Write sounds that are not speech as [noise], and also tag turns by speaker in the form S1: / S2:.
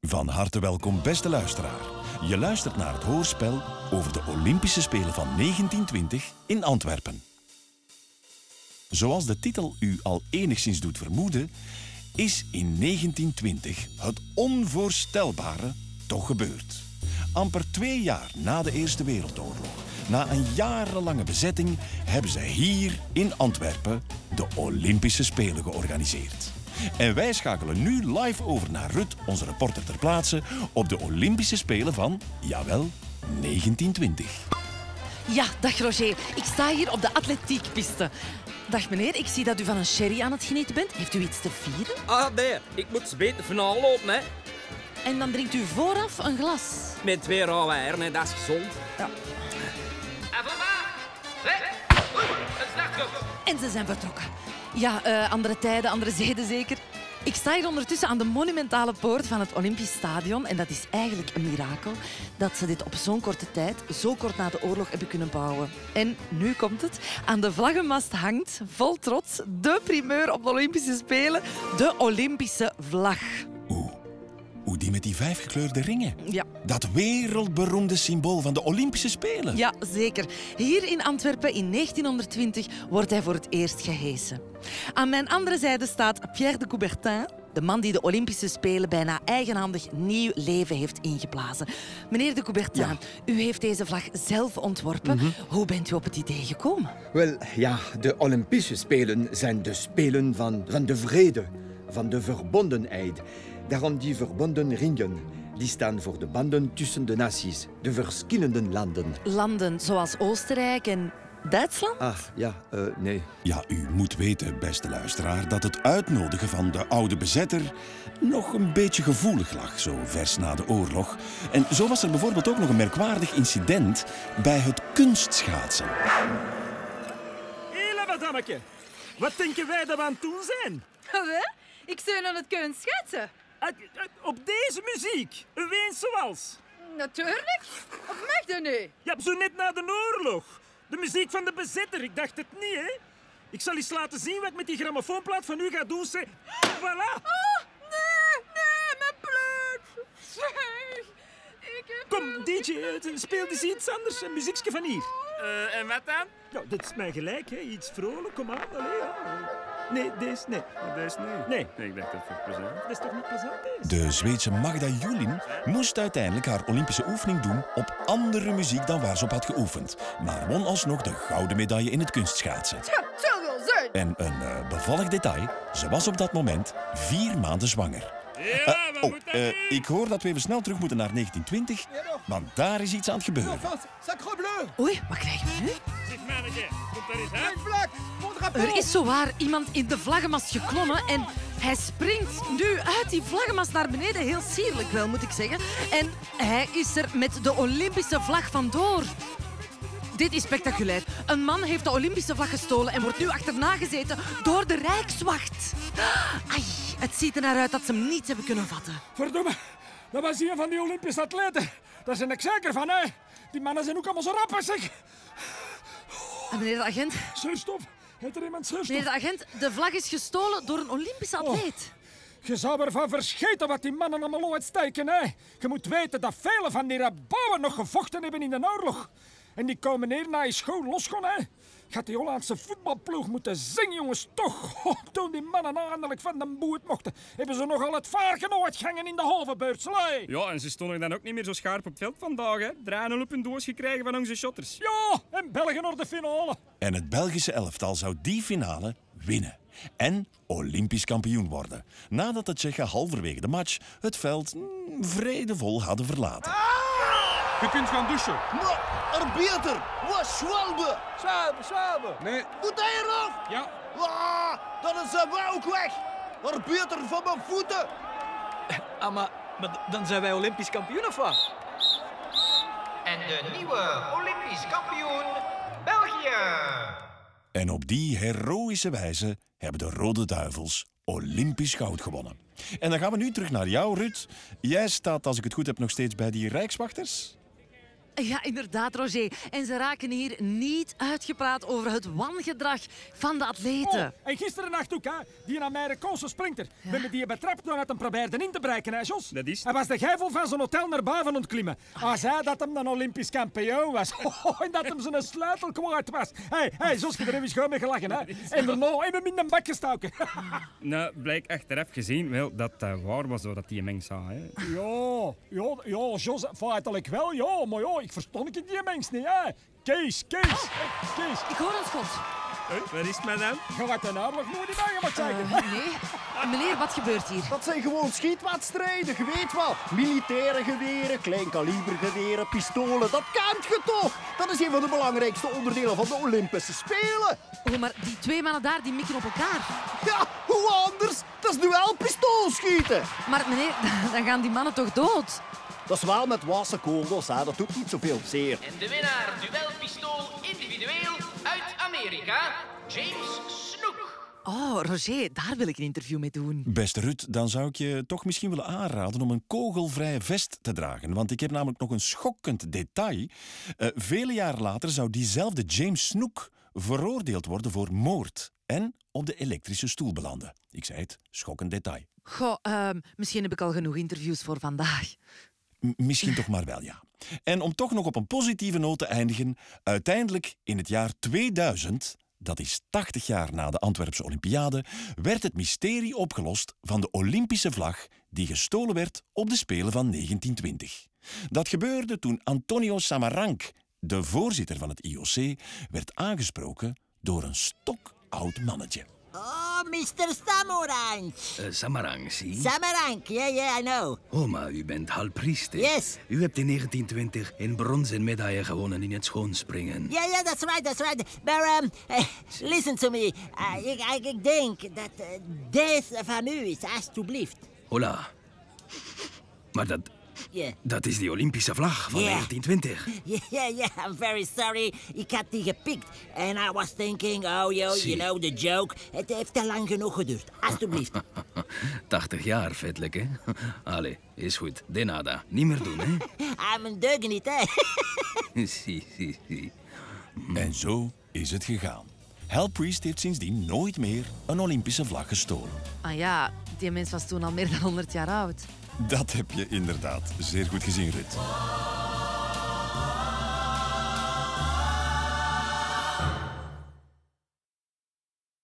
S1: Van harte welkom, beste luisteraar. Je luistert naar het hoorspel over de Olympische Spelen van 1920 in Antwerpen. Zoals de titel u al enigszins doet vermoeden, is in 1920 het onvoorstelbare toch gebeurd. Amper twee jaar na de Eerste Wereldoorlog, na een jarenlange bezetting, hebben ze hier in Antwerpen de Olympische Spelen georganiseerd. En wij schakelen nu live over naar Rut, onze reporter ter plaatse, op de Olympische Spelen van, jawel, 1920.
S2: Ja, dag Roger. Ik sta hier op de atletiekpiste. Dag meneer, ik zie dat u van een sherry aan het genieten bent. Heeft u iets te vieren?
S3: Ah nee, ik moet zweten van al lopen, hè.
S2: En dan drinkt u vooraf een glas.
S3: Met twee rauwe eieren, hè. dat is gezond.
S2: Ja.
S3: En vandaag, hè, een slachtoffer.
S2: En ze zijn vertrokken. Ja, eh, andere tijden, andere zeden zeker. Ik sta hier ondertussen aan de monumentale poort van het Olympisch Stadion. En dat is eigenlijk een mirakel dat ze dit op zo'n korte tijd, zo kort na de oorlog, hebben kunnen bouwen. En nu komt het. Aan de vlaggenmast hangt, vol trots, de primeur op de Olympische Spelen, de Olympische vlag.
S1: Oeh, hoe die met die vijf gekleurde ringen.
S2: Ja,
S1: Dat wereldberoemde symbool van de Olympische Spelen.
S2: Ja, zeker. Hier in Antwerpen in 1920 wordt hij voor het eerst gehesen. Aan mijn andere zijde staat Pierre de Coubertin, de man die de Olympische Spelen bijna eigenhandig nieuw leven heeft ingeblazen. Meneer de Coubertin,
S4: Ja.
S2: u heeft deze vlag zelf ontworpen. Hoe bent u op het idee gekomen?
S4: Wel, ja, de Olympische Spelen zijn de Spelen van, van de vrede, van de verbondenheid. Daarom die verbonden ringen. Die staan voor de banden tussen de naties, de verschillende landen.
S2: Landen zoals Oostenrijk en Duitsland?
S4: Ah, ja, eh, nee.
S1: Ja, u moet weten, beste luisteraar, dat het uitnodigen van de oude bezetter nog een beetje gevoelig lag, zo vers na de oorlog. En zo was er bijvoorbeeld ook nog een merkwaardig incident bij het kunstschaatsen.
S5: Hé, madameke. Wat denken wij dat we aan het doen zijn?
S6: Wel, ik zou aan het kunnen schetsen.
S5: Uit- uit- eh, Op deze muziek, een Weense wals.
S6: Natuurlijk. Of mag dat nu?
S5: Ja, zo net na de oorlog. De muziek van de bezetter, ik dacht het niet, hè? Ik zal eens laten zien wat ik met die grammofoonplaat van u gaat doen, ze. Voilà!
S6: Oh, nee, nee, mijn pleut. Zeg, ik heb...
S5: Kom, DJ, eh, speel eens iets anders, een muziekje van hier.
S3: Eh, en wat dan?
S5: Ja, dit is mij gelijk, hè? Iets vrolijk, kom aan. Allee, ja. Nee, deze, nee.
S7: Deze niet?
S5: Nee,
S7: Ik dacht dat voor plezant.
S5: dat is toch niet plezant, deze?
S1: De Zweedse Magda Julin moest uiteindelijk haar Olympische oefening doen op andere muziek dan waar ze op had geoefend, maar won alsnog de gouden medaille in het kunstschaatsen.
S6: Ja, het zou wel zijn.
S1: En een eh, bevallig detail, ze was op dat moment vier maanden zwanger.
S7: Ja,
S1: Oh, eh, ik hoor dat we even snel terug moeten naar 1920, want daar is iets aan het gebeuren.
S4: Sacre bleu!
S2: Oei, wat krijgen we nu?
S7: Zeg, mannetje, komt daar eens
S4: Mijn vlak! Mon
S2: Er is zowaar iemand in de vlaggenmast geklommen en hij springt nu uit die vlaggenmast naar beneden. Heel sierlijk wel, moet ik zeggen. En hij is er met de Olympische vlag vandoor. Dit is spectaculair. Een man heeft de Olympische vlag gestolen en wordt nu achterna gezeten door de Rijkswacht. Ai, het ziet er naar uit dat ze hem niet hebben kunnen vatten.
S5: Verdomme, dat was een van die Olympische atleten. Daar ben ik zeker van, hè. Die mannen zijn ook allemaal zo rappen, zeg.
S2: En meneer de agent,
S5: Zuurstof. Heeft er iemand zuurstof?
S2: meneer de agent, de vlag is gestolen door een Olympische atleet.
S5: Je zou ervan verscheten wat die mannen allemaal uitsteken, hè? Je moet weten dat velen van die rabouwen nog gevochten hebben in de oorlog. En die komen hier naar je school losgaan, hè? Gaat die Hollandse voetbalploeg moeten zingen, jongens, toch? [laughs] Ho, toen die mannen eindelijk van de boet mochten, hebben ze nogal het vaargenoot gangen in de halve slij.
S7: Ja, en ze stonden dan ook niet meer zo scherp op het veld vandaag, hè. 3-0 op een doos gekregen van onze shotters.
S5: Ja, en België naar de finale.
S1: En het Belgische elftal zou die finale winnen. En Olympisch kampioen worden. Nadat de Tsjechen halverwege de match het veld mm, vredevol hadden verlaten.
S7: Je kunt gaan douchen.
S8: Арбитр! Wat Schwalbe!
S7: Nee.
S8: Moet hij eraf?
S7: Ja.
S8: Ah, dan zijn wij ook weg! Arbiter van mijn voeten!
S9: Ah, maar, maar d- dan zijn wij Olympisch kampioen of wat?
S10: En de nieuwe Olympisch kampioen België.
S1: En op die heroïsche wijze hebben de Rode Duivels Olympisch goud gewonnen. En dan gaan we nu terug naar jou, Ruud. Jij staat, als ik het goed heb, nog steeds bij die Rijkswachters?
S2: Ja, inderdaad, Roger. En ze raken hier niet uitgepraat over het wangedrag van de atleten.
S5: Oh, en gisteren nacht ook, hè? Die naar mijn springt sprinter. We hebben die betrapt doordat hem probeerde in te breken, hè, Jos?
S7: Dat is het.
S5: Hij was de gevel van zijn hotel naar boven ontklimmen. Hij zei dat hem een Olympisch kampioen was. [laughs] Oh, en dat hem zijn sleutel kwijt was. Hé, hey, hey, Jos, je er even schoon mee gelachen, hè? En daarna hebben we in de bak gestoken. [laughs]
S7: Nou, blijkt achteraf gezien wel dat dat waar was wat die mens zei. Hè.
S5: ja, ja, ja, Jos, feitelijk wel, ja. Maar ja, ik verstond het die mens niet, hè? Kees, Kees, Kees.
S2: Ik hoor een schot.
S7: Hé, waar is het, madame?
S5: Je wordt een oorlog nooit in eigen, wat zeker.
S2: Eh, nee. Meneer, wat gebeurt hier?
S8: Dat zijn gewoon schietwedstrijden, je weet wel. Militaire geweren, klein kaliber geweren, pistolen, dat kent je toch? Dat is een van de belangrijkste onderdelen van de Olympische Spelen.
S2: Oh, maar die twee mannen daar, die mikken op elkaar.
S8: Ja, hoe anders? Dat is duelpistool schieten.
S2: Maar meneer, [laughs] dan gaan die mannen toch dood?
S8: Dat is wel met wassen kogels, hè. dat doet niet zoveel zeer.
S10: En de winnaar duelpistool individueel uit Amerika, James Snoek.
S2: Oh, Roger, daar wil ik een interview mee doen.
S1: Beste Ruud, dan zou ik je toch misschien willen aanraden om een kogelvrij vest te dragen. Want ik heb namelijk nog een schokkend detail. Eh, vele jaren later zou diezelfde James Snook veroordeeld worden voor moord en op de elektrische stoel belanden. Ik zei het, schokkend detail.
S2: Goh, ehm, misschien heb ik al genoeg interviews voor vandaag.
S1: M- misschien toch maar wel, ja. En om toch nog op een positieve noot te eindigen, uiteindelijk in het jaar 2000, dat is 80 jaar na de Antwerpse Olympiade, werd het mysterie opgelost van de Olympische vlag die gestolen werd op de Spelen van 1920. Dat gebeurde toen Antonio Samarank, de voorzitter van het IOC, werd aangesproken door een stokoud mannetje.
S11: Oh, Mr. Samarang.
S12: Eh, Samarang, zie.
S11: Samarang, yeah, yeah, I know.
S12: Oma, u bent halpriester.
S11: Yes.
S12: U hebt in 1920 een bronzen medaille gewonnen in het schoonspringen.
S11: Yeah, yeah, that's right, that's right. But, um, eh, listen to me. Eh, ik, ik- ik denk dat eh, deze van u is, alstublieft. [laughs]
S12: Hola. Maar dat,
S11: Yeah.
S12: dat is die Olympische vlag van
S11: Ja.
S12: [laughs] 1920.
S11: Yeah, yeah, yeah, I'm very sorry. Ik had die gepikt. En I was thinking, oh, yo,
S12: Zie.
S11: you know the joke. Het heeft te lang genoeg geduurd. Alstublieft.
S12: 80 jaar, vetelijk, hè? Allee, is goed. De nada. Niet meer doen,
S11: [laughs]
S12: hè?
S11: I'm een deug Ah, niet,
S12: [laughs]
S11: hè. [laughs]
S12: zie, zie, zie.
S1: En zo is het gegaan. Hal Priest heeft sindsdien nooit meer een Olympische vlag gestolen.
S2: Ah ja, die mens was toen al meer dan 100 jaar oud.
S1: Dat heb je inderdaad zeer goed gezien, Rut.